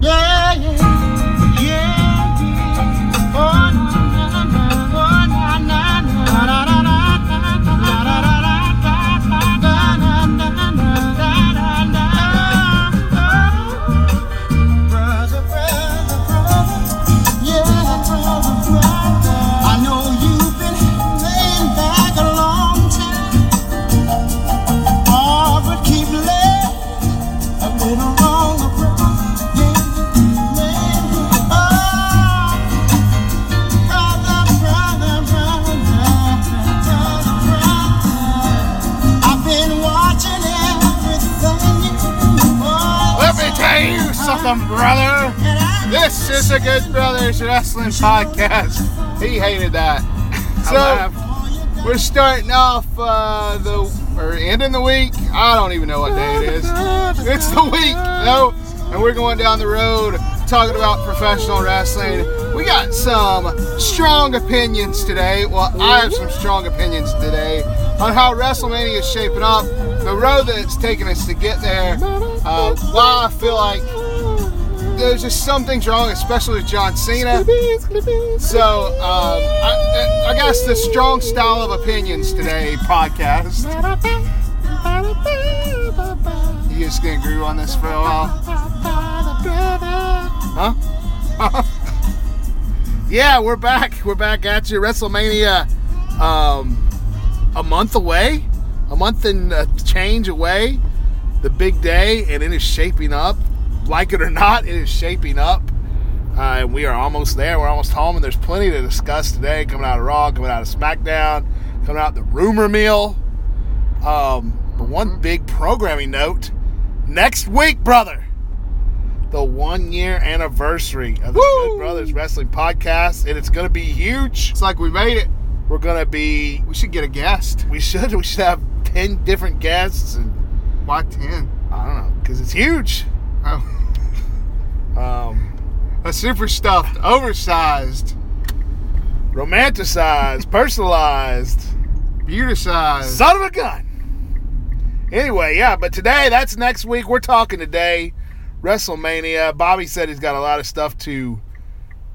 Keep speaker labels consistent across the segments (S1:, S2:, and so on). S1: Yeah, yeah, yeah, yeah. Oh, na, na, na, oh, na, na, na. La, la, la, la, la, la, la, la, la, la, la, la, na, na, na, la, la, la. Oh, brother, brother, brother. Yeah, brother, brother. I know you've been laying back a long time. Oh, but keep laying a little longer, brother. Yeah, yeah. Oh, brother, brother, brother, brother, brother. I've been watching everything you do, boy.
S2: Let me tell you something, brother.
S1: And I
S2: This is a Good Brothers Wrestling Podcast. He hated that. So
S1: all you got
S2: we're starting off uh, the or ending the week. I don't even know what day it is. It's the week, though, and we're going down the road talking about professional wrestling. We got some strong opinions today. Well, I have some strong opinions today on how WrestleMania is shaping up, the road that it's taken us to get there, uh, why I feel like there's just some things wrong, especially with John Cena. So um, I, I- I guess the strong style of opinions today podcast. You just gonna agree on this for a while, huh? yeah, we're back. We're back at you. WrestleMania, um, a month away, a month and a change away. The big day, and it is shaping up. Like it or not, it is shaping up. Uh, and we are almost there. We're almost home, and there's plenty to discuss today. Coming out of Raw, coming out of SmackDown, coming out the rumor mill. Um, but one big programming note: next week, brother, the one-year anniversary of the Good Brothers Wrestling Podcast, and it's going to be huge.
S3: It's like we made it.
S2: We're going to be.
S3: We should get a guest.
S2: We should. We should have ten different guests, and
S3: Why 10?
S2: I don't know because it's huge.
S3: Oh,
S2: Um,
S3: a super stuffed, oversized,
S2: romanticized, personalized.
S3: beauticized.
S2: Son of a gun. Anyway, yeah, but today, that's next week. We're talking today, WrestleMania. Bobby said he's got a lot of stuff to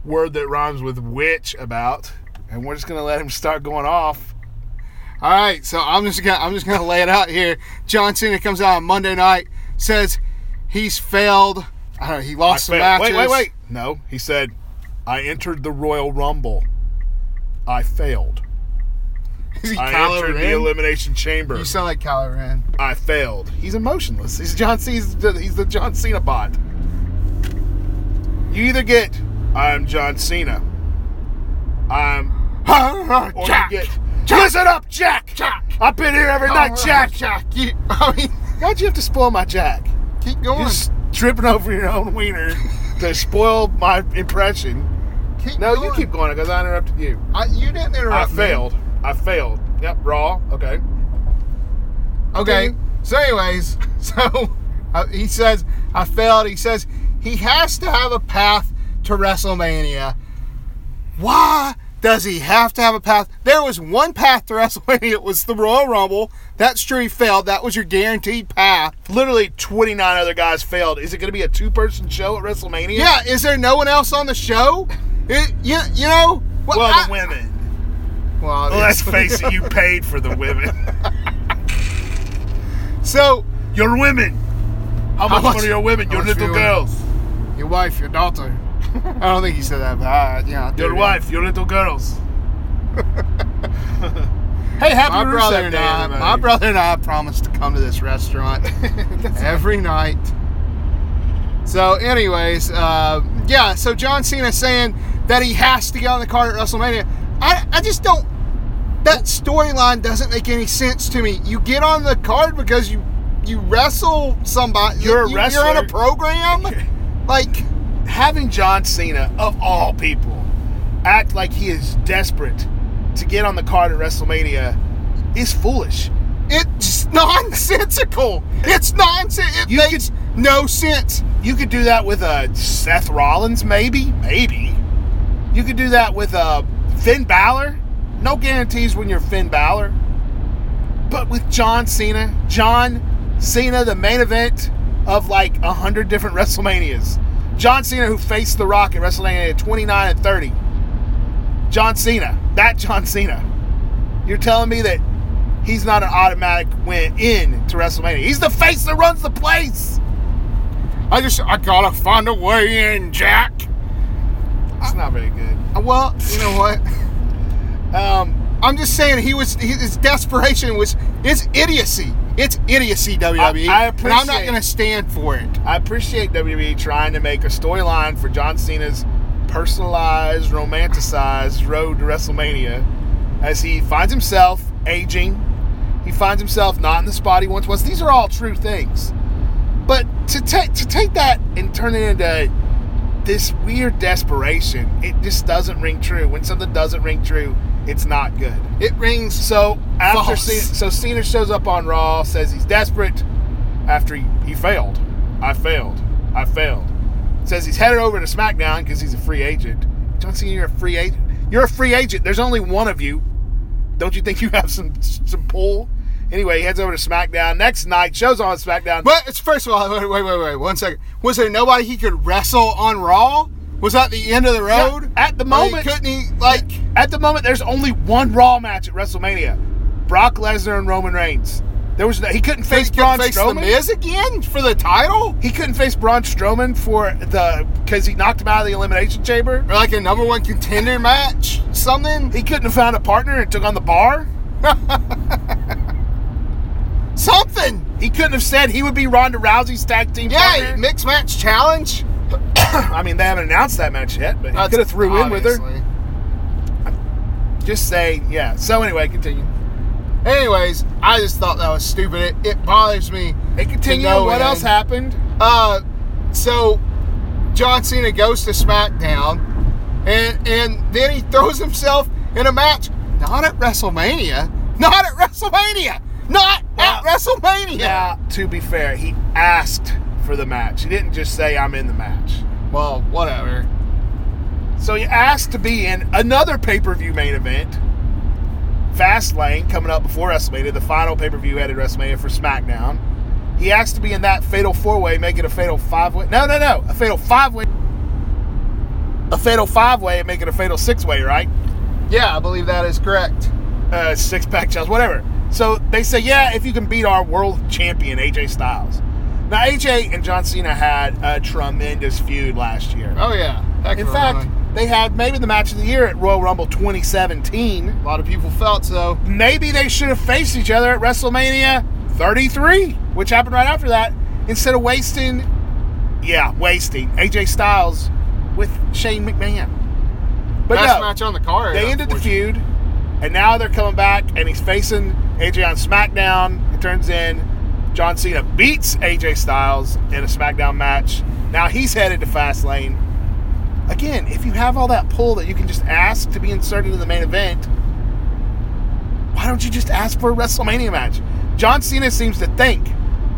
S2: word that rhymes with witch about, and we're just going to let him start going off.
S3: All right, so I'm just gonna I'm just gonna lay it out here. John Cena comes out on Monday night, says he's failed. I don't know. He lost some
S2: Wait,
S3: matches.
S2: Wait, wait, wait. No, he said, I entered the Royal Rumble. I failed.
S3: Is he
S2: I
S3: Kylo
S2: entered the
S3: Ren?
S2: Elimination Chamber.
S3: You sound like Kylo Ren.
S2: I failed. He's emotionless. He's John Cena. He's the, he's the John Cena bot. You either get I'm John Cena. I'm or
S3: Jack.
S2: you get Listen up, Jack.
S3: Jack.
S2: I've been here every night, Jack.
S3: Jack. You, I mean,
S2: Why'd you have to spoil my Jack?
S3: keep going.
S2: You're just tripping over your own wiener to spoil my impression.
S3: keep
S2: No, you
S3: going.
S2: keep going because I interrupted you.
S3: I, you didn't
S2: I
S3: interrupt. me.
S2: failed. I failed. Yep, raw. Okay.
S3: Okay.
S2: Okay.
S3: So, anyways, so uh, he says, I failed. He says he has to have a path to WrestleMania. Why does he have to have a path? There was one path to WrestleMania. It was the Royal Rumble. That's true. He failed. That was your guaranteed path.
S2: Literally 29 other guys failed. Is it going to be a two-person show at WrestleMania?
S3: Yeah. Is there no one else on the show? It, you, you know?
S2: Well,
S3: I-
S2: the women.
S3: Well,
S2: Let's
S3: obviously.
S2: face it, you paid for the women.
S3: So,
S2: Your women. How much,
S3: much-
S2: money are your women?
S3: how
S2: Your
S3: much
S2: little
S3: for your
S2: girls.
S3: your wife, your daughter. I don't think he said that, but I, yeah. I do
S2: Your
S3: know.
S2: wife, your little girls.
S3: Hey, happy
S2: My
S3: my
S2: brother
S3: brother and
S2: and I-
S3: I,
S2: my
S3: my brother and I promised to come to this restaurant every night. So, anyways, uh, yeah. So John Cena saying that he has to get on the card at WrestleMania. I, I just don't. That storyline doesn't make any sense to me. You get on the card because you you wrestle somebody.
S2: You're a
S3: you, You're on
S2: wrestler.
S3: a program. Like
S2: Having John Cena, of all people, act like he is desperate to get on the card at WrestleMania is foolish.
S3: it's nonsensical. It's nonsense. It
S2: You
S3: makes no sense.
S2: You could do that with a Seth Rollins, maybe, maybe. You could do that with a Finn Balor. No guarantees when you're Finn Balor. But with John Cena, John Cena, the main event of like a hundred different WrestleManias. John Cena, who faced The Rock at WrestleMania at 29 and 30. John Cena, that John Cena. You're telling me that he's not an automatic win in to WrestleMania. He's the face that runs the place.
S3: I just I gotta find a way in, Jack.
S2: It's not very good.
S3: Uh, Well, you know what?
S2: Um,
S3: I'm just saying he was his desperation was it's idiocy. It's idiocy, WWE.
S2: I
S3: and I'm not
S2: appreciate-
S3: gonna stand for it.
S2: I appreciate WWE trying to make a storyline for John Cena's personalized, romanticized road to WrestleMania as he finds himself aging. He finds himself not in the spot he once was. These are all true things. But to take to take that and turn it into this weird desperation, it just doesn't ring true. When something doesn't ring true, it's not good.
S3: It rings
S2: So after
S3: False.
S2: Cena, so Cena shows up on Raw, says he's desperate after he, he failed. I failed. I failed. Says he's headed over to SmackDown because he's a free agent. John Cena, you're a free agent. You're a free agent. There's only one of you. Don't you think you have some some pull? Anyway, he heads over to SmackDown next night. Shows on SmackDown.
S3: But it's first of all, wait, wait, wait, wait, one second. Was there nobody he could wrestle on Raw? Was that the end of the
S2: Yeah,
S3: road?
S2: at the
S3: Like,
S2: moment-
S3: couldn't he like?
S2: At the moment, there's only one Raw match at WrestleMania: Brock Lesnar and Roman Reigns. There was no, he couldn't face
S3: he could
S2: Braun
S3: face
S2: Strowman.
S3: the Miz again for the title,
S2: He couldn't face Braun Strowman for the because he knocked him out of the elimination chamber.
S3: or like a number one contender match, something,
S2: He couldn't have found a partner and took on the bar.
S3: something.
S2: He couldn't have said he would be Ronda Rousey's tag team
S3: Yeah,
S2: partner.
S3: mixed match challenge.
S2: I mean, they haven't announced that match yet, but he
S3: That's
S2: could have threw in with her.
S3: obviously.
S2: Just say, yeah. So anyway, continue.
S3: Anyways, I just thought that was stupid. It, it bothers me.
S2: And continue.
S3: no
S2: what
S3: end.
S2: else happened?
S3: Uh, so John Cena goes to SmackDown, and and then he throws himself in a match, not at WrestleMania, not at WrestleMania, not at
S2: Well,
S3: WrestleMania.
S2: Now, to be fair, he asked for the match. He didn't just say, "I'm in the match."
S3: Well, whatever.
S2: So he asked to be in another pay-per-view main event, Fastlane, coming up before WrestleMania, the final pay-per-view headed WrestleMania for SmackDown. He asked to be in that fatal four-way, make it a fatal five-way. No, no, no, a fatal five-way. A fatal five-way and make it a fatal six-way, right?
S3: Yeah, I believe that is correct.
S2: uh, six pack challenge, whatever. So they say, yeah, if you can beat our world champion AJ Styles. Now AJ and John Cena had a tremendous feud last year.
S3: Oh yeah. Heck
S2: In
S3: of a
S2: fact,
S3: run.
S2: they had maybe the match of the year at Royal Rumble 2017.
S3: a lot of people felt so.
S2: Maybe they should have faced each other at WrestleMania 33, which happened right after that, instead of wasting, yeah, wasting AJ Styles with Shane McMahon. But
S3: Best
S2: no,
S3: match on the card.
S2: they ended the
S3: unfortunately.
S2: feud, and now they're coming back, and he's facing AJ on SmackDown. It turns in John Cena beats AJ Styles in a SmackDown match. Now he's headed to Fastlane. Again, if you have all that pull that you can just ask to be inserted in the main event, why don't you just ask for a WrestleMania match? John Cena seems to think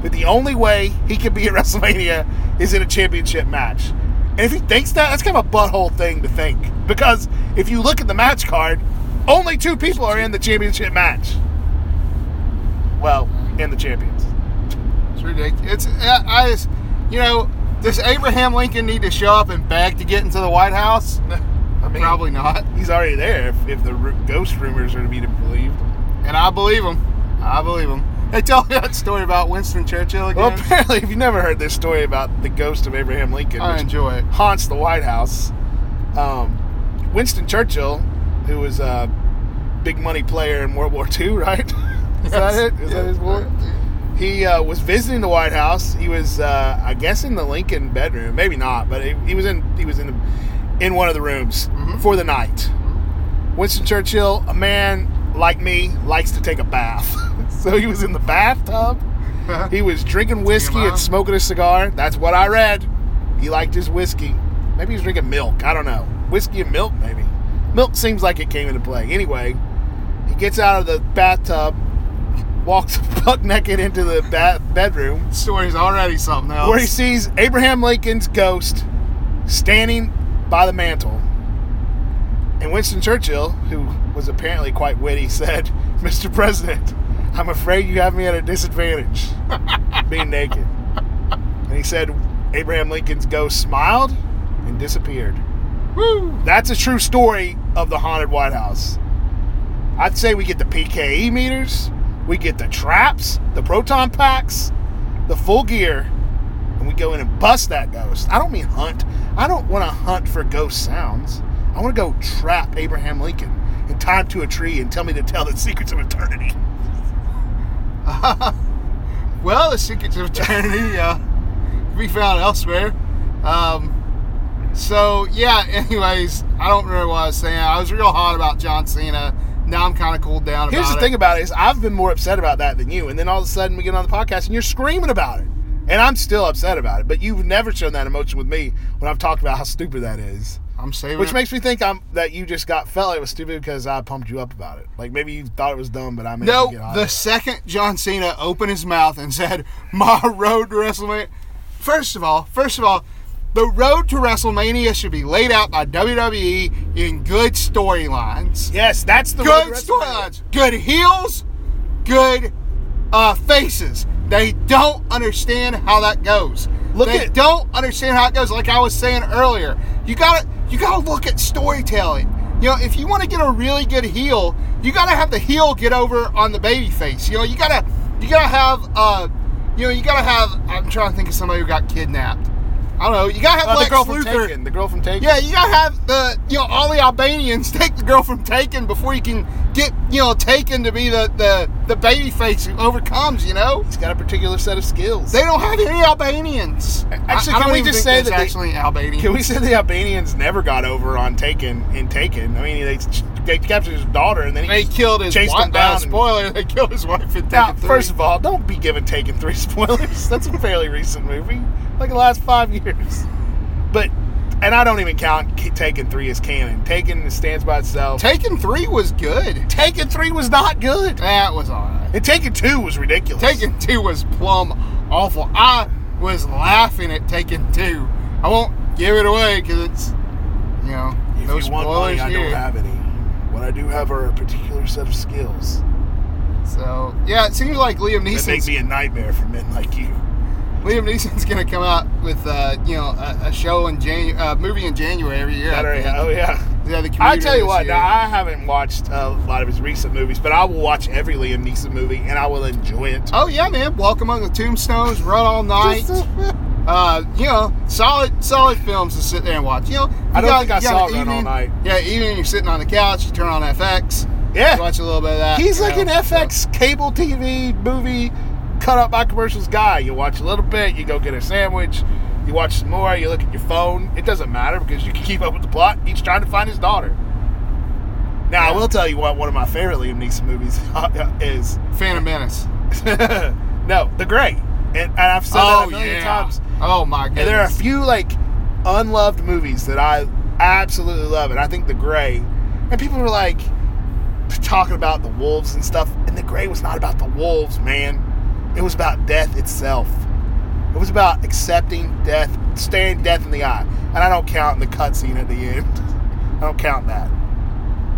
S2: that the only way he could be at WrestleMania is in a championship match. And if he thinks that, that's kind of a butthole thing to think. Because if you look at the match card, only two people are in the championship match. Well, in the champions.
S3: It's ridiculous. It's I, I just, you know, does Abraham Lincoln need to show up and beg to get into the White House?
S2: I mean,
S3: Probably not.
S2: He's already there if, if the ru- ghost rumors are to be believed.
S3: And I believe him. I believe him. They tell me that story about Winston Churchill again.
S2: Well, apparently, if you never heard this story about the ghost of Abraham Lincoln,
S3: I
S2: which
S3: enjoy it.
S2: haunts the White House. Um, Winston Churchill, who was a big money player in World War II, right? Is that it? Is that his war? He uh, was visiting the White House. He was, uh, I guess, in the Lincoln bedroom. Maybe not, but he, he was in he was in the, in one of the rooms for the night. Winston Churchill, a man like me, likes to take a bath. so he was in the bathtub. He was drinking whiskey
S3: TMI.
S2: and smoking a cigar. That's what I read. He liked his whiskey. Maybe he was drinking milk. I don't know. Whiskey and milk, maybe. Milk seems like it came into play. Anyway, he gets out of the bathtub, walks buck naked into the ba- bedroom,
S3: Story's already something else.
S2: where he sees Abraham Lincoln's ghost standing by the mantle. And Winston Churchill, who was apparently quite witty, said, Mr. President, I'm afraid you have me at a disadvantage being naked. And he said, Abraham Lincoln's ghost smiled and disappeared. That's a true story of the haunted White House. I'd say we get the PKE meters, we get the traps, the proton packs, the full gear, and we go in and bust that ghost. I don't mean hunt. I don't want to hunt for ghost sounds. I want to go trap Abraham Lincoln and tie him to a tree and tell me to tell the secrets of eternity.
S3: Well, the secrets of eternity uh, be found elsewhere. Um, so yeah. Anyways, I don't remember what I was saying. I was real hot about John Cena. Now I'm kind of cooled down.
S2: Here's
S3: about
S2: the
S3: it.
S2: thing about it is I've been more upset about that than you, and then all of a sudden we get on the podcast and you're screaming about it, and I'm still upset about it. But you've never shown that emotion with me when I've talked about how stupid that is,
S3: I'm saving.
S2: which
S3: it.
S2: makes me think I'm that you just got felt like it was stupid because I pumped you up about it. Like maybe you thought it was dumb, but I made
S3: No,
S2: you get hot.
S3: the second John Cena opened his mouth and said, "My road to WrestleMania." First of all, first of all, the road to WrestleMania should be laid out by WWE in good storylines.
S2: yes, that's the
S3: Good
S2: road to WrestleMania.
S3: storylines. Good heels, good uh, faces. They don't understand how that goes.
S2: Look
S3: they
S2: at-
S3: don't understand how it goes. Like I was saying earlier, you gotta you gotta look at storytelling. You know, if you want to get a really good heel, you gotta have the heel get over on the baby face. You know, you gotta you gotta have uh, you know, you gotta have. I'm trying to think of somebody who got kidnapped. I don't know. You gotta have
S2: Uh,
S3: Lex
S2: the girl from
S3: Luthor.
S2: Taken. The girl from Taken.
S3: Yeah, you gotta have the you know all the Albanians take the girl from Taken before you can get you know Taken to be the the the baby face who overcomes. You know
S2: he's got a particular set of skills.
S3: they don't have any Albanians.
S2: Actually,
S3: I- I
S2: can
S3: don't
S2: we
S3: even think
S2: just say
S3: there's
S2: that they-
S3: actually Albanians?
S2: Can we say the Albanians never got over on Taken in Taken? I mean, they they captured his daughter and then he
S3: They
S2: just
S3: killed his
S2: chased
S3: wife.
S2: him down.
S3: uh, spoiler: They killed his wife in
S2: Now,
S3: Taken three.
S2: first of all, don't be giving Taken three spoilers. That's a fairly recent movie, like the last five years. But, and I don't even count K- Taken three as canon. Taken stands by itself.
S3: Taken three was good.
S2: Taken three was not good,
S3: That was alright.
S2: and Taken two was ridiculous.
S3: Taken two was plumb awful. I was laughing at Taken two. I won't give it away because it's you know
S2: if
S3: no
S2: you want
S3: spoilers
S2: money, I
S3: here.
S2: don't have any. What I do have are a particular set of skills
S3: So yeah, it seems like Liam
S2: that make
S3: Neeson's
S2: me a nightmare for men like you.
S3: Liam Neeson's gonna come out with uh, you know a, a show in Janu- uh, movie in January every year. I
S2: Better-
S3: think.
S2: oh yeah.
S3: Yeah, the
S2: I
S3: Commuter
S2: tell you
S3: this
S2: what,
S3: year.
S2: now I haven't watched a lot of his recent movies, but I will watch every Liam Neeson movie and I will enjoy it.
S3: oh yeah, man! Walk among the tombstones, Run all night. uh, you know, solid solid films to sit there and watch. You know,
S2: I
S3: you
S2: don't think I
S3: you
S2: saw
S3: an
S2: Run All
S3: evening-
S2: Night.
S3: Yeah, even if you're sitting on the couch, you turn on FX,
S2: Yeah.
S3: watch a little bit of that.
S2: He's
S3: you
S2: like
S3: know,
S2: an FX cable TV movie cut up by commercials guy. You watch a little bit, you go get a sandwich, you watch some more, you look at your phone. It doesn't matter because you can keep up with the plot. He's trying to find his daughter. Now, I will tell you what one of my favorite Liam Neeson movies is.
S3: so. Phantom Menace.
S2: no, The Great. And, and I've said that a million times.
S3: Oh my god.
S2: And there are a few like unloved movies that I absolutely love, and I think The Gray. And people were like talking about the wolves and stuff, and The Gray was not about the wolves, man. It was about death itself. It was about accepting death, staring death in the eye, and I don't count the cutscene at the end. I don't count that.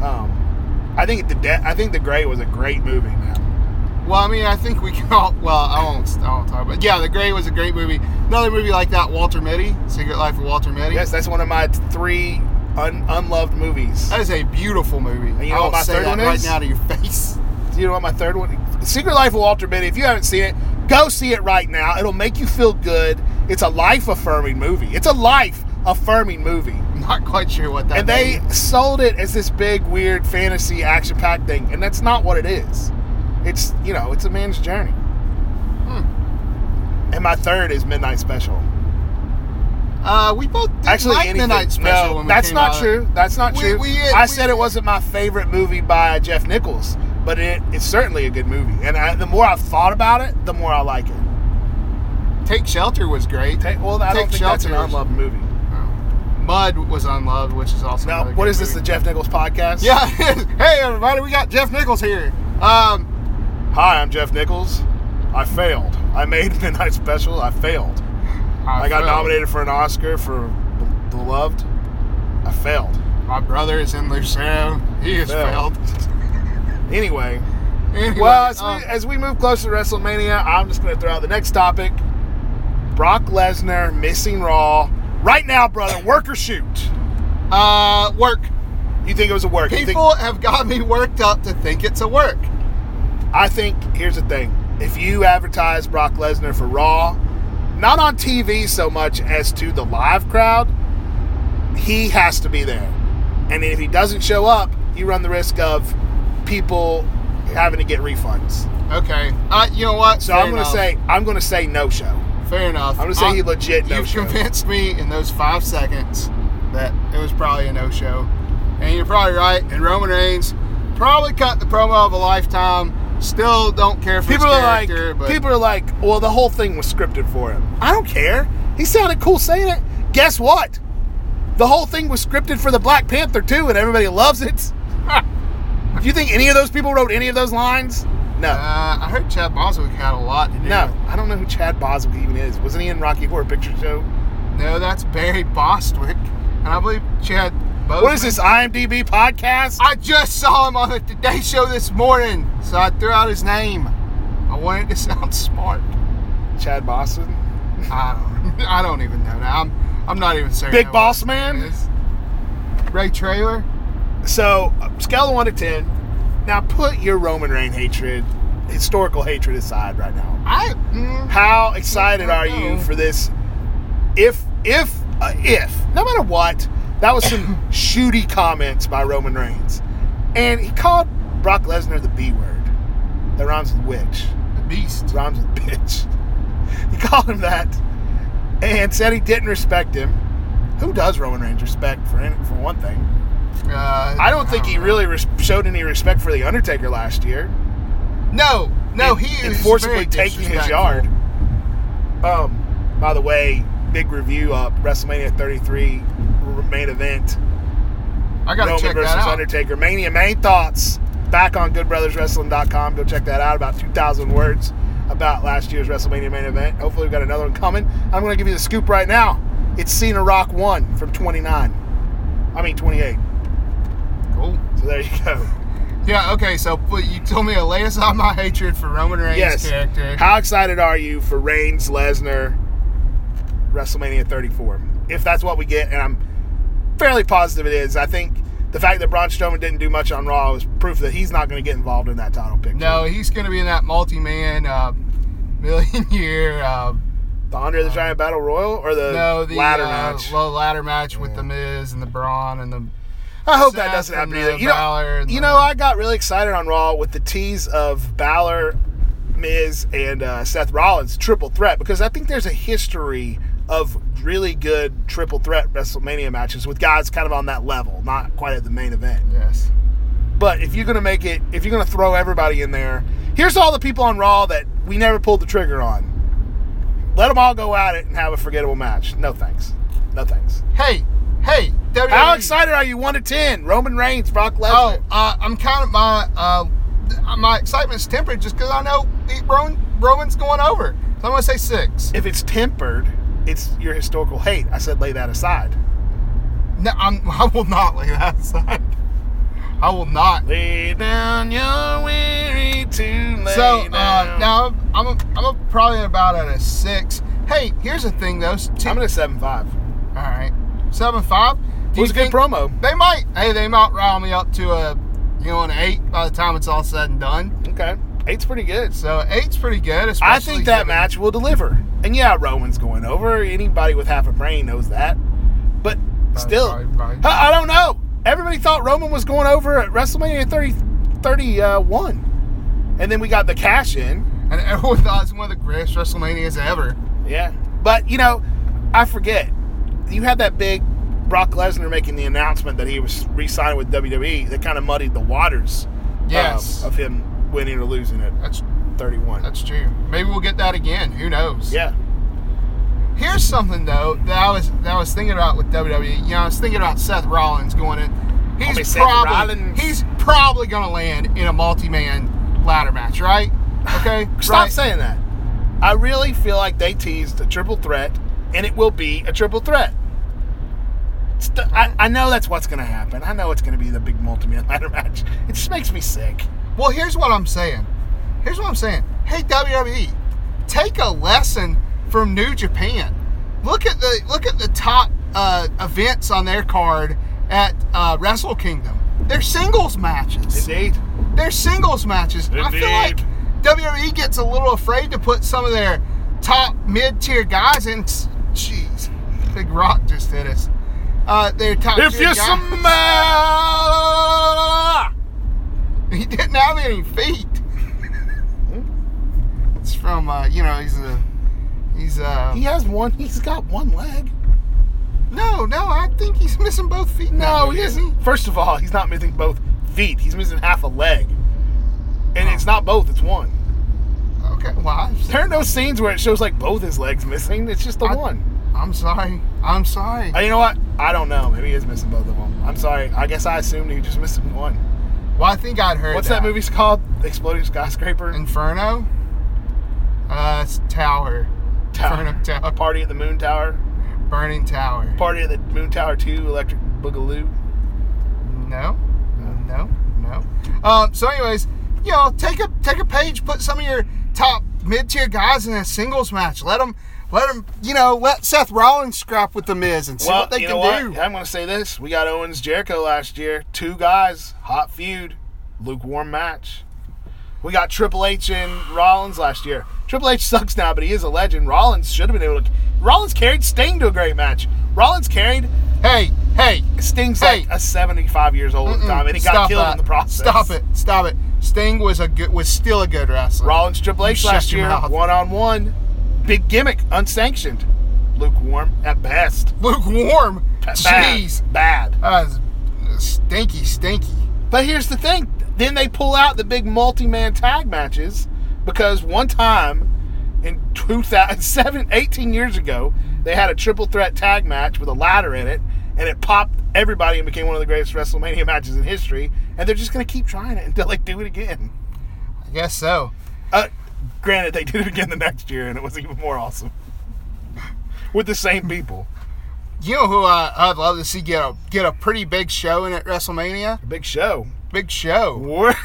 S2: Um, I think the de- I think The Gray was a great movie, man.
S3: Well, I mean, I think we can all. Well, I won't. I won't talk about. Yeah, The Gray was a great movie. Another movie like that, Walter Mitty, Secret Life of Walter Mitty.
S2: Yes, that's one of my three un- unloved movies.
S3: that is a beautiful movie.
S2: you know
S3: I
S2: what
S3: will
S2: my
S3: say
S2: third
S3: that
S2: one
S3: right
S2: is?
S3: now to your face.
S2: Do you know what my third one? Secret Life of Walter Mitty. If you haven't seen it, go see it right now. It'll make you feel good. It's a life affirming movie. It's a life affirming movie.
S3: I'm not quite sure what that.
S2: And they
S3: means.
S2: sold it as this big, weird fantasy action packed thing, and that's not what it is. It's you know, it's a man's journey.
S3: hmm.
S2: And my third is Midnight Special.
S3: Uh, we both did
S2: Actually,
S3: like
S2: anything.
S3: Midnight Special.
S2: No,
S3: when we
S2: that's
S3: came
S2: not
S3: out.
S2: true. That's not
S3: We-
S2: true.
S3: we-
S2: I
S3: we-
S2: said it wasn't my favorite movie by Jeff Nichols, but it, it's certainly a good movie. And I, the more I've thought about it, the more I like it.
S3: Take Shelter was great.
S2: Take, well, I don't
S3: Take
S2: think that's an
S3: Shelters.
S2: unloved movie.
S3: Mud was unloved, which is also.
S2: Now,
S3: another
S2: what
S3: good
S2: is this? The
S3: movie.
S2: Jeff Nichols podcast?
S3: yeah. hey everybody, we got Jeff Nichols here. Um,
S2: Hi, I'm Jeff Nichols. I failed. I made Midnight Special. I failed. I, got
S3: felt-
S2: nominated for an Oscar for Bel- Beloved. I failed.
S3: My brother is in Lucero. He is
S2: Failed.
S3: failed.
S2: Anyway,
S3: Anyway,
S2: well, as,
S3: um,
S2: we, as we move closer to WrestleMania, I'm just going to throw out the next topic. Brock Lesnar missing Raw. Right now, brother, work or shoot.
S3: Uh, work.
S2: You think it was a work? You think-
S3: People have got me worked up to think it's a work.
S2: I think here's the thing: if you advertise Brock Lesnar for Raw, not on TV so much as to the live crowd, he has to be there. And if he doesn't show up, you run the risk of people having to get refunds.
S3: Okay. Uh, you know what?
S2: So I'm going to say I'm going to say no show.
S3: Fair enough. Uh,
S2: I'm gonna say he legit
S3: You've
S2: no-showed.
S3: convinced me in those five seconds that it was probably a no-show, and you're probably right. And Roman Reigns probably cut the promo of a lifetime. Still don't care for
S2: People
S3: his
S2: are like
S3: character, but
S2: people are like, well, the whole thing was scripted for him. I don't care. He sounded cool saying it. Guess what? The whole thing was scripted for the Black Panther too, and everybody loves it. Do you think any of those people wrote any of those lines? No.
S3: uh, I heard Chad Boswick had a lot to do.
S2: No, I don't know who Chad Boswick even is. Wasn't he in Rocky Horror Picture Show?
S3: no, that's Barry Bostwick, and I believe Chad. Boseman.
S2: What is this IMDb podcast?
S3: I just saw him on the Today Show this morning, so I threw out his name. I wanted to sound smart.
S2: Chad Boston,
S3: I don't, I don't even know now. I'm, I'm not even certain.
S2: Big
S3: that
S2: Boss
S3: what
S2: Man.
S3: it is. Ray Trailer.
S2: So, uh, scale of one to ten. Now, put your Roman Reign hatred, historical hatred aside right now.
S3: I. Mm,
S2: How excited are you for this? If if uh, if no matter what, that was some shooty comments by Roman Reigns, and he called Brock Lesnar the B word. That rhymes with witch.
S3: the Beast.
S2: Rhymes with bitch. He called him that, and said he didn't respect him. Who does Roman Reigns respect for any, for one thing?
S3: Uh,
S2: I don't think he
S3: know.
S2: really res- showed any respect for the Undertaker last year.
S3: No, no,
S2: and-
S3: he
S2: and
S3: is
S2: forcibly
S3: very
S2: taking his
S3: disrespectful.
S2: yard. Um, by the way, big review up WrestleMania 33 r- main event
S3: I gotta
S2: Roman
S3: check
S2: versus
S3: that out.
S2: Undertaker Mania main thoughts back on goodbrotherswrestling.com. Go check that out. About 2,000 words about last year's WrestleMania main event. Hopefully, we've got another one coming. I'm going to give you the scoop right now. It's Cena Rock 1 from 29. I mean, 28.
S3: Cool.
S2: So there you go.
S3: Yeah. Okay. So, but you told me to lay aside my hatred for Roman Reigns'
S2: yes.
S3: character.
S2: How excited are you for Reigns Lesnar WrestleMania 34? If that's what we get, and I'm fairly positive it is. I think the fact that Braun Strowman didn't do much on Raw is proof that he's not going to get involved in that title picture.
S3: no, he's gonna be in that multi-man, uh, million-year. Uh,
S2: The Andre the Giant Battle Royal or the,
S3: no, the
S2: ladder
S3: uh,
S2: match.
S3: well, ladder match with the Miz and the Braun and the
S2: I hope that
S3: Seth
S2: doesn't happen
S3: and,
S2: either.
S3: uh,
S2: You know,
S3: Balor and
S2: you
S3: the-
S2: know, I got really excited on Raw with the tease of Balor, Miz, and uh, Seth Rollins triple threat because I think there's a history of really good triple threat WrestleMania matches with guys kind of on that level, not quite at the main event.
S3: yes.
S2: But if you're gonna make it, if you're gonna throw everybody in there, here's all the people on Raw that we never pulled the trigger on. Let them all go at it and have a forgettable match. No thanks. No thanks.
S3: Hey, hey, WWE.
S2: How excited are you? One to ten. Roman Reigns, Brock
S3: Oh,
S2: Lesnar.
S3: uh, I'm kind of my uh, my excitement's tempered just because I know the Roman, Roman's going over. So I'm gonna say six.
S2: If it's tempered, it's your historical hate. I said lay that aside.
S3: No, I'm, I will not lay that aside. I will not.
S2: Lay down your weary to lay
S3: So uh,
S2: down.
S3: now I'm I'm, a, I'm a probably about at a six. Hey, here's the thing though. T-
S2: I'm at a seven five.
S3: all right, seven five.
S2: It was a good promo.
S3: They might. Hey, they might rile me up to a you know an eight by the time it's all said and done.
S2: Okay, eight's pretty good.
S3: So eight's pretty good.
S2: I
S3: especially
S2: think that
S3: given-
S2: match will deliver. And yeah, Roman's going over. Anybody with half a brain knows that. But still,
S3: probably- probably.
S2: I, I don't know. Everybody thought Roman was going over at WrestleMania 30, 31. And then we got the cash in.
S3: And everyone thought it's one of the greatest WrestleManias ever.
S2: Yeah. But, you know, I forget. You had that big Brock Lesnar making the announcement that he was re signing with WWE that kind of muddied the waters um,
S3: Yes.
S2: of him winning or losing at
S3: That's
S2: 31.
S3: that's true. Maybe we'll get that again. Who knows?
S2: yeah.
S3: Here's something though that I was that I was thinking about with WWE. You know, I was thinking about Seth Rollins going in.
S2: Homie,
S3: He's
S2: Seth Rollins.
S3: probably he's probably gonna land in a multi-man ladder match, right? Okay.
S2: Stop
S3: right.
S2: saying that. I really feel like they teased a triple threat, and it will be a triple threat. St- I, I know that's what's going to happen. I know it's going to be the big multi-man ladder match. It just makes me sick.
S3: Well, here's what I'm saying. Here's what I'm saying. Hey WWE, take a E, lesson from New Japan. Look at the look at the top uh, events on their card at uh, Wrestle Kingdom. They're singles matches.
S2: Indeed.
S3: They're singles matches. I feel like
S2: Indeed.
S3: WWE gets a little afraid to put some of their top mid tier guys in. Jeez, Big Rock just hit us. Uh, their top
S2: If
S3: tier
S2: you
S3: guys.
S2: smell.
S3: He didn't have any feet. it's from uh, you know he's a he's uh
S2: He has one. He's got one leg.
S3: no no I think he's missing both feet. now,
S2: No, he isn't. First of all, he's not missing both feet. He's missing half a leg. And it's not both, it's one.
S3: Okay, well I'm,
S2: There are no scenes where it shows like both his legs missing. It's just the
S3: I-
S2: one.
S3: I'm sorry. I'm sorry.
S2: Uh, you know what? I don't know. Maybe he is missing both of them. I'm sorry. I guess I assumed he just missed one.
S3: well, I think I'd heard.
S2: What's that movie's called? Exploding Skyscraper?
S3: Inferno. Uh, it's Tower. Inferno Tower.
S2: Party at the Moon Tower.
S3: Burning Tower.
S2: Party at the Moon Tower 2, Electric Boogaloo.
S3: No, no, no. Um, so, anyways, you know, take a take a page, put some of your top mid tier guys in a singles match. Let them, let them, you know, let Seth Rollins scrap with the Miz and see
S2: well,
S3: what they
S2: you
S3: can
S2: know what?
S3: do.
S2: I'm going to say this. We got Owens Jericho last year. Two guys, hot feud, lukewarm match. We got Triple H and Rollins last year. Triple H sucks now, but he is a legend. Rollins should have been able to. Rollins carried Sting to a great match. Rollins carried
S3: Hey, hey,
S2: Sting's
S3: Hey.
S2: like a 75 years old at the
S3: mm,
S2: time, and he got
S3: stop
S2: killed
S3: that.
S2: in the process.
S3: Stop it, stop it. Sting was a good, was still a good wrestler.
S2: Rollins Triple H
S3: You shut
S2: last
S3: your
S2: year,
S3: mouth.
S2: one on one, big gimmick, unsanctioned, lukewarm at best.
S3: lukewarm.
S2: Bad.
S3: Jeez,
S2: bad.
S3: that was stinky, stinky.
S2: But here's the thing. Then they pull out the big multi-man tag matches because one time in 2007, 18 years ago, they had a triple threat tag match with a ladder in it, and it popped everybody and became one of the greatest WrestleMania matches in history. And they're just going to keep trying it until they do it again.
S3: I guess so.
S2: Uh, granted, they did it again the next year, and it was even more awesome with the same people.
S3: You know who I, I'd love to see get a get a pretty big show in at WrestleMania?
S2: Big show.
S3: Big show.
S2: Well,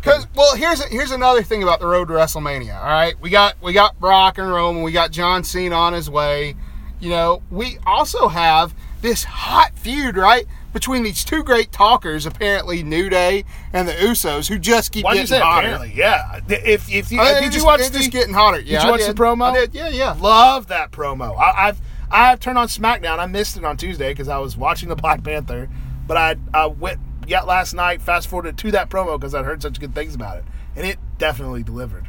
S3: Cause well, here's here's another thing about the road to WrestleMania. All right, we got we got Brock and Roman, we got John Cena on his way. You know, we also have this hot feud right between these two great talkers, apparently New Day and the Usos, who just keep
S2: why do you
S3: getting
S2: say
S3: hotter.
S2: apparently? Yeah. If, if you,
S3: I mean, they're
S2: did you
S3: just-
S2: watch
S3: they're
S2: the
S3: just getting hotter? Yeah,
S2: you
S3: I
S2: watch the
S3: did.
S2: promo?
S3: I did. Yeah, yeah.
S2: Love that promo. I, I've I turned on SmackDown. I missed it on Tuesday because I was watching the Black Panther, but I I went yet last night. Fast forwarded to that promo because I heard such good things about it, and it definitely delivered.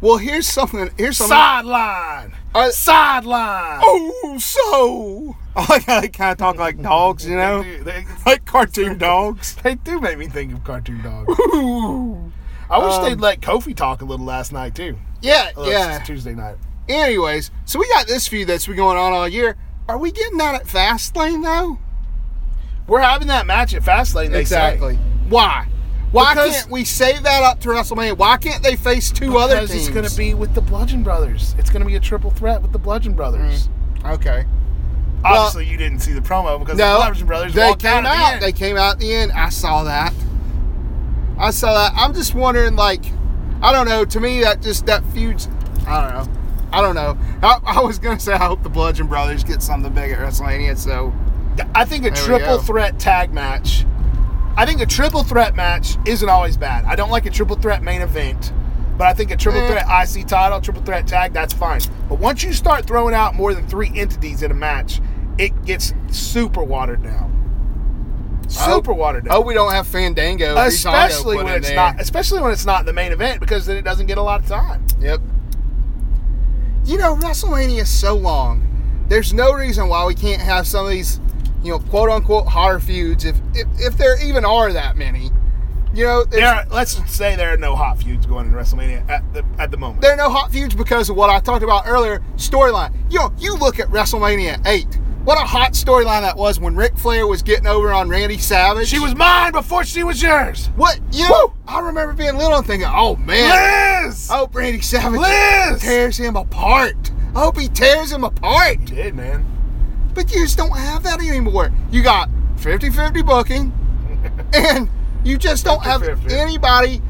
S3: Well, here's something. Here's something.
S2: Sideline,
S3: Uh,
S2: sideline.
S3: Oh, so I like how they kind of talk like dogs, you know,
S2: They, they-
S3: like cartoon dogs.
S2: they do make me think of cartoon dogs.
S3: Ooh.
S2: I wish they'd let Kofi talk a little last night too.
S3: Yeah,
S2: Oh, it's
S3: yeah.
S2: Tuesday night.
S3: Anyways, so we got this feud that's been going on all year. Are we getting that at Fastlane though?
S2: We're having that match at Fastlane. They Say.
S3: Why? Why
S2: Because-
S3: can't we save that up to WrestleMania? Why can't they face two other
S2: Because
S3: teams?
S2: it's going to be with the Bludgeon Brothers. It's going to be a triple threat with the Bludgeon Brothers.
S3: okay.
S2: Obviously, you didn't see the promo because the Bludgeon Brothers
S3: they
S2: walked
S3: came
S2: out.
S3: out.
S2: At the
S3: They
S2: end.
S3: came out at the end. I saw that. I saw that. I'm just wondering, like, I don't know. To me, that just that feud's. I don't know. I don't know. I, I was gonna say I hope the Bludgeon Brothers get something big at WrestleMania. So
S2: I think a
S3: There we
S2: triple
S3: go.
S2: threat tag match. I think a triple threat match isn't always bad. I don't like a triple threat main event, but I think a triple
S3: Eh.
S2: threat IC title, triple threat tag, that's fine. But once you start throwing out more than three entities in a match, it gets super watered down. Super watered down.
S3: oh, we don't have Fandango, Breezango
S2: especially
S3: put
S2: when
S3: in
S2: it's
S3: there.
S2: not especially when it's not the main event because then it doesn't get a lot of time
S3: Yep. You know, WrestleMania is so long. There's no reason why we can't have some of these, you know, quote unquote hotter feuds, if if, if there even are that many. You know, there's-
S2: there are, let's say there are no hot feuds going in wrestlemania at the at the moment
S3: there are no hot feuds because of what I talked about earlier storyline. You know, you look at WrestleMania 8. What a hot storyline that was when Ric Flair was getting over on Randy Savage.
S2: she was mine before she was yours
S3: what you know, I remember being little and thinking, "Oh man,
S2: liz
S3: I hope Randy Savage
S2: Liz!
S3: tears him apart. I hope he tears him apart."
S2: You did man
S3: But you just don't have that anymore. You got 50 50 booking, and you just don't have
S2: 50-50.
S3: anybody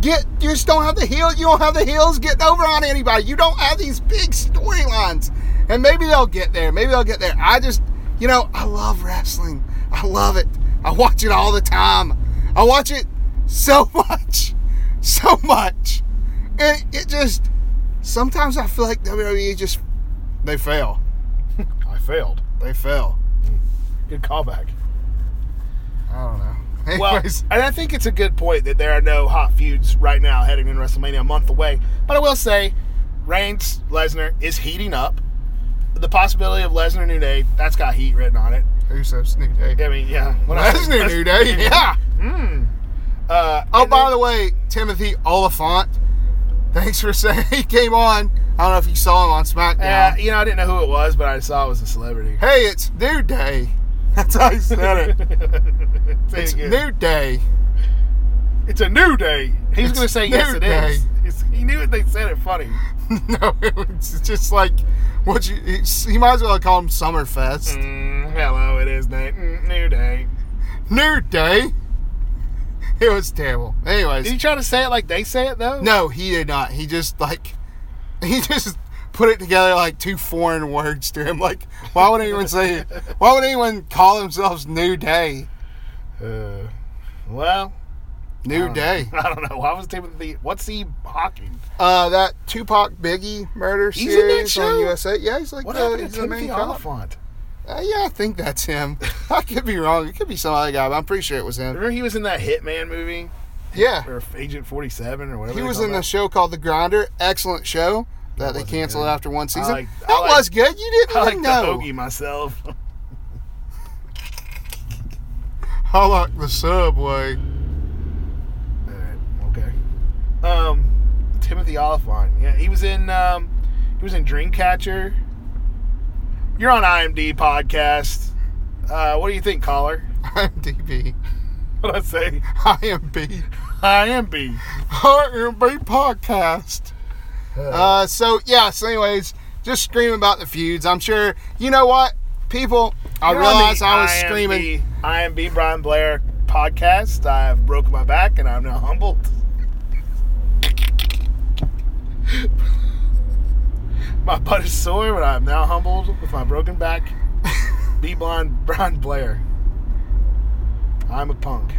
S3: get you just don't have the heel you don't have the heels getting over on anybody. You don't have these big storylines. And maybe they'll get there. Maybe they'll get there. I just you know, I love wrestling. I love it. I watch it all the time. I watch it so much. So much. And it just sometimes I feel like WWE just they fail.
S2: I failed.
S3: They fail.
S2: Good callback.
S3: I don't know.
S2: Well,
S3: Anyways,
S2: and I think it's a good point that there are no hot feuds right now heading into WrestleMania a month away. But I will say, Reigns Lesnar is heating up. The possibility of Lesnar New Day that's got heat written on it.
S3: Usos New Day.
S2: I mean, yeah, when I-
S3: Lesnar New Day. Yeah.
S2: Uh,
S3: Oh,
S2: and
S3: by
S2: then-
S3: the way, Timothy Oliphant. Thanks for saying he came on. I don't know if you saw him on
S2: uh,
S3: SmackDown.
S2: you know, I didn't know who it was, but I saw it was a celebrity.
S3: Hey, it's New Day. That's how he said it.
S2: Say
S3: It's
S2: it again.
S3: New Day.
S2: It's a new day. He's
S3: It's
S2: gonna say
S3: new
S2: yes, it is.
S3: day.
S2: It's, he knew it. They said it funny.
S3: no, it's just like what you. It's, you might as well call him Summerfest.
S2: Mm, hello, it is Nate. Mm, new day.
S3: New Day. It was terrible.
S2: Did he
S3: Anyways,
S2: try to say it like they say it though?
S3: no, he did not. He just like he just put it together like two foreign words to him. Like, why would anyone say? Why would anyone call themselves New Day?
S2: Uh, well, Oh.
S3: New Day.
S2: I don't know. Why was Timothy? What's he hawking?
S3: Uh, that Tupac Biggie murder
S2: He's in that
S3: series on
S2: show?
S3: USA. Yeah, he's like
S2: What
S3: the,
S2: happened
S3: he's
S2: to
S3: the main
S2: Timothy
S3: cop.
S2: Oliphant?
S3: Uh, yeah, I think that's him. I could be wrong. It could be some other guy, but I'm pretty sure it was him.
S2: Remember he was in that Hitman movie
S3: Yeah,
S2: or Agent Forty Seven or whatever.
S3: he
S2: they
S3: was
S2: call
S3: in
S2: that?
S3: the show called The Grinder. Excellent show that they
S2: wasn't
S3: canceled
S2: good.
S3: after one season.
S2: like- I
S3: that
S2: like-
S3: was good. You didn't
S2: I like
S3: even
S2: the
S3: know.
S2: bogey myself.
S3: I like the subway.
S2: Alright, okay. Um, Timothy Oliphant. Yeah, he was in. Um, he was in Dreamcatcher. You're on IMD podcast. Uh, what do you think, caller?
S3: I'm DB.
S2: What I say?
S3: I am B.
S2: IMB.
S3: I am B podcast. Uh, so yeah. So anyways, just screaming about the feuds. I'm sure you know what people. I
S2: You're on the
S3: realized I was
S2: IMB
S3: screaming.
S2: IMB Brian Blair podcast. I've broken my back and I'm now humbled. my butt is sore, but I'm now humbled with my broken back. Be blind, Brian Blair. I'm a punk.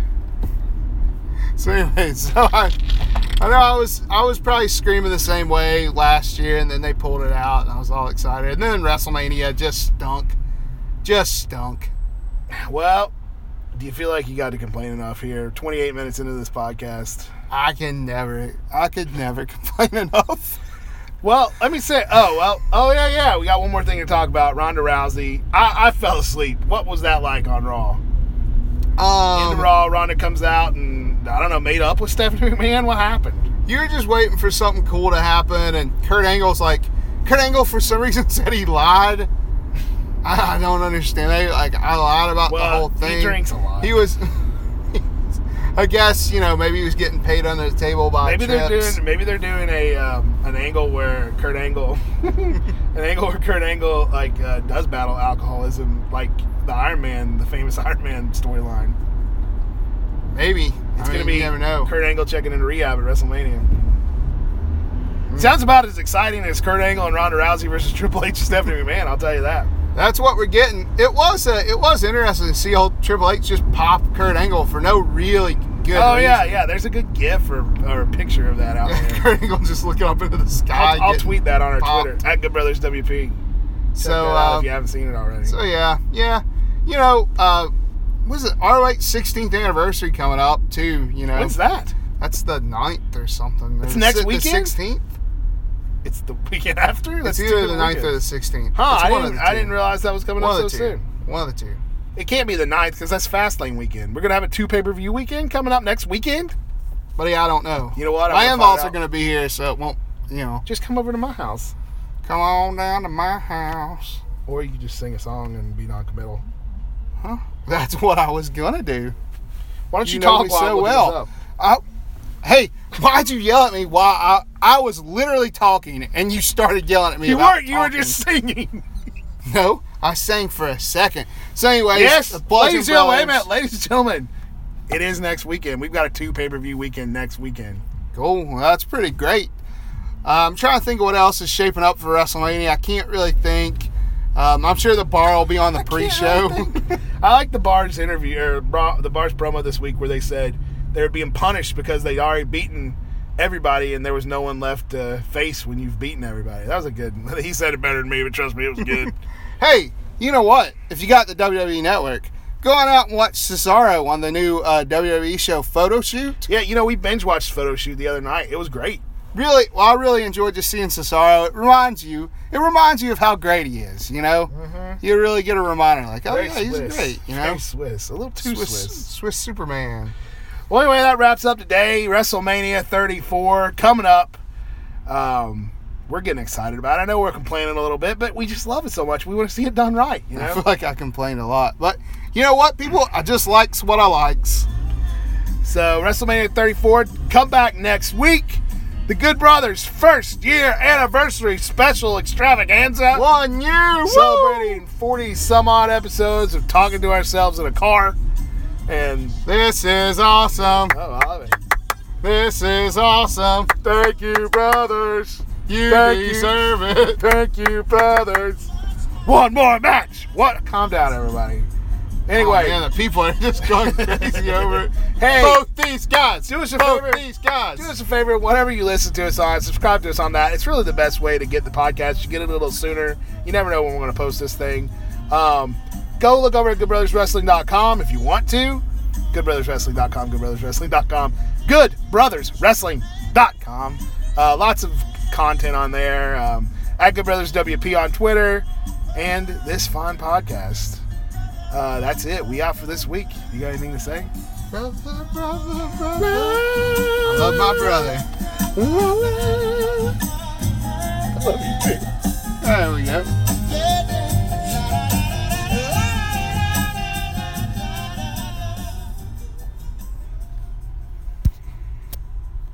S3: So anyway, so I, I know I was I was probably screaming the same way last year, and then they pulled it out, and I was all excited. And then WrestleMania just stunk, just stunk.
S2: Well, do you feel like you got to complain enough here? 28 minutes into this podcast.
S3: I can never, I could never complain enough.
S2: Well, let me say. Oh well. Oh yeah, yeah. We got one more thing to talk about. Ronda Rousey. I, I fell asleep. What was that like on Raw? In
S3: Um,
S2: Raw, Ronda comes out and I don't know, made up with Stephanie McMahon. What happened?
S3: you're just waiting for something cool to happen, and Kurt Angle's like, Kurt Angle for some reason said he lied. I, I don't understand. They like I lied about the
S2: Well,
S3: whole
S2: he
S3: thing.
S2: drinks a lot.
S3: He was. I guess you know maybe he was getting paid under the table by
S2: Maybe
S3: trips.
S2: they're doing. Maybe they're doing a um, an angle where Kurt Angle, an angle where Kurt Angle like uh, does battle alcoholism, like the Iron Man, the famous Iron Man storyline.
S3: Maybe it's
S2: It's
S3: gonna
S2: gonna
S3: be.
S2: be
S3: You never know.
S2: Kurt Angle checking into rehab at WrestleMania. Sounds about as exciting as Kurt Angle and Ronda Rousey versus Triple H and Stephanie McMahon. I'll tell you that.
S3: That's what we're getting. It was uh, it was interesting to see old Triple H just pop Kurt Angle for no really good.
S2: oh yeah,
S3: reason.
S2: yeah. There's a good GIF or, or a picture of that out there.
S3: Kurt Angle just looking up into the sky.
S2: I'll, I'll
S3: getting-
S2: tweet that on our
S3: popped.
S2: Twitter at Good Brothers WP. Check
S3: So
S2: that out
S3: uh,
S2: if you haven't seen it already,
S3: so yeah yeah, you know uh, was it our like 16th anniversary coming up too? You know
S2: when's that?
S3: that's the 9th or something.
S2: It's
S3: The
S2: next
S3: si- the
S2: weekend?
S3: 16th.
S2: It's the weekend after.
S3: It's
S2: That's
S3: either the 9th
S2: ninth
S3: or the 16th.
S2: Huh?
S3: It's
S2: I
S3: one of
S2: didn't,
S3: the
S2: I
S3: two.
S2: didn't realize that was coming
S3: One
S2: up
S3: of
S2: so
S3: the two.
S2: soon.
S3: One of the two.
S2: It can't be the 9th because that's Fastlane weekend. We're gonna have a two pay per view weekend coming up next weekend.
S3: But yeah, I don't know.
S2: You know what? I'm
S3: I
S2: gonna
S3: am
S2: find
S3: also
S2: out.
S3: going to be here, so it won't. You know,
S2: Just come over to my house.
S3: come on down to my house.
S2: Or you could just sing a song and be non-committal.
S3: That's what I was gonna do.
S2: Why don't
S3: You
S2: you,
S3: know
S2: talk
S3: me
S2: while
S3: so
S2: I look
S3: well.
S2: this up?
S3: I, hey, why'd you yell at me? Why I I was literally talking and you started yelling at me.
S2: You
S3: about
S2: weren't. You were
S3: talking.
S2: just singing.
S3: no. I sang for a second. So, anyways,
S2: yes,
S3: the Bludgeon
S2: ladies and gentlemen. Wait a
S3: Brothers-
S2: minute, ladies and gentlemen. It is next weekend. We've got a two pay per view weekend next weekend.
S3: Cool. That's pretty great. Uh, I'm trying to think of what else is shaping up for WrestleMania. I can't really think. Um, I'm sure the bar will be on the pre-show.
S2: I like the Bar's interview or bra- the Bar's promo this week where they said they were being punished because they already beaten everybody and there was no one left to face when you've beaten everybody. That was a good. He said it better than me, but trust me, it was good.
S3: hey, you know what? If you got the WWE Network, go on out and watch Cesaro on the new uh, WWE show photo shoot.
S2: yeah, you know we binge watched photo shoot the other night. It was great.
S3: Really, well, I really enjoyed just seeing Cesaro. It reminds you, it reminds you of how great he is. You know,
S2: Mm-hmm.
S3: you really get a reminder like, oh
S2: Very
S3: yeah, he's
S2: Swiss.
S3: great. You know,
S2: Very Swiss, a little too
S3: Swiss,
S2: Swiss.
S3: Swiss Superman.
S2: Well, anyway, that wraps up today. WrestleMania 34 coming up. Um, we're getting excited about it. I know we're complaining a little bit, but we just love it so much. We want to see it done right, you
S3: I
S2: know?
S3: feel like I complained a lot, but you know what, people, I just likes what I likes.
S2: so, WrestleMania 34, come back next week. The Good Brothers' first year anniversary special extravaganza.
S3: One year, woo!
S2: Celebrating 40 some odd episodes of talking to ourselves in a car. And,
S3: This is awesome.
S2: oh, I love it.
S3: This is awesome.
S2: Thank you, brothers.
S3: You
S2: Thank you.
S3: deserve it.
S2: Thank you, brothers. One more match. What? Calm down, everybody. Anyway,
S3: Anyway, Oh, man, the people are just going crazy over it.
S2: Hey.
S3: both these guys.
S2: Do us a
S3: both
S2: favor.
S3: these guys.
S2: do us a favor. Whatever you listen to us on, subscribe to us on that. It's really the best way to get the podcast. You get it a little sooner. You never know when we're going to post this thing. Um, go look over at goodbrotherswrestling.com if you want to. Goodbrotherswrestling.com, goodbrotherswrestling.com, goodbrotherswrestling.com. Uh, lots of content on there. Um, at Good Brothers WP on Twitter and this fine podcast. Uh, that's it. We out for this week. You got anything to say?
S3: Brother, brother, brother. I love my brother.
S2: I love you too.
S3: There we go.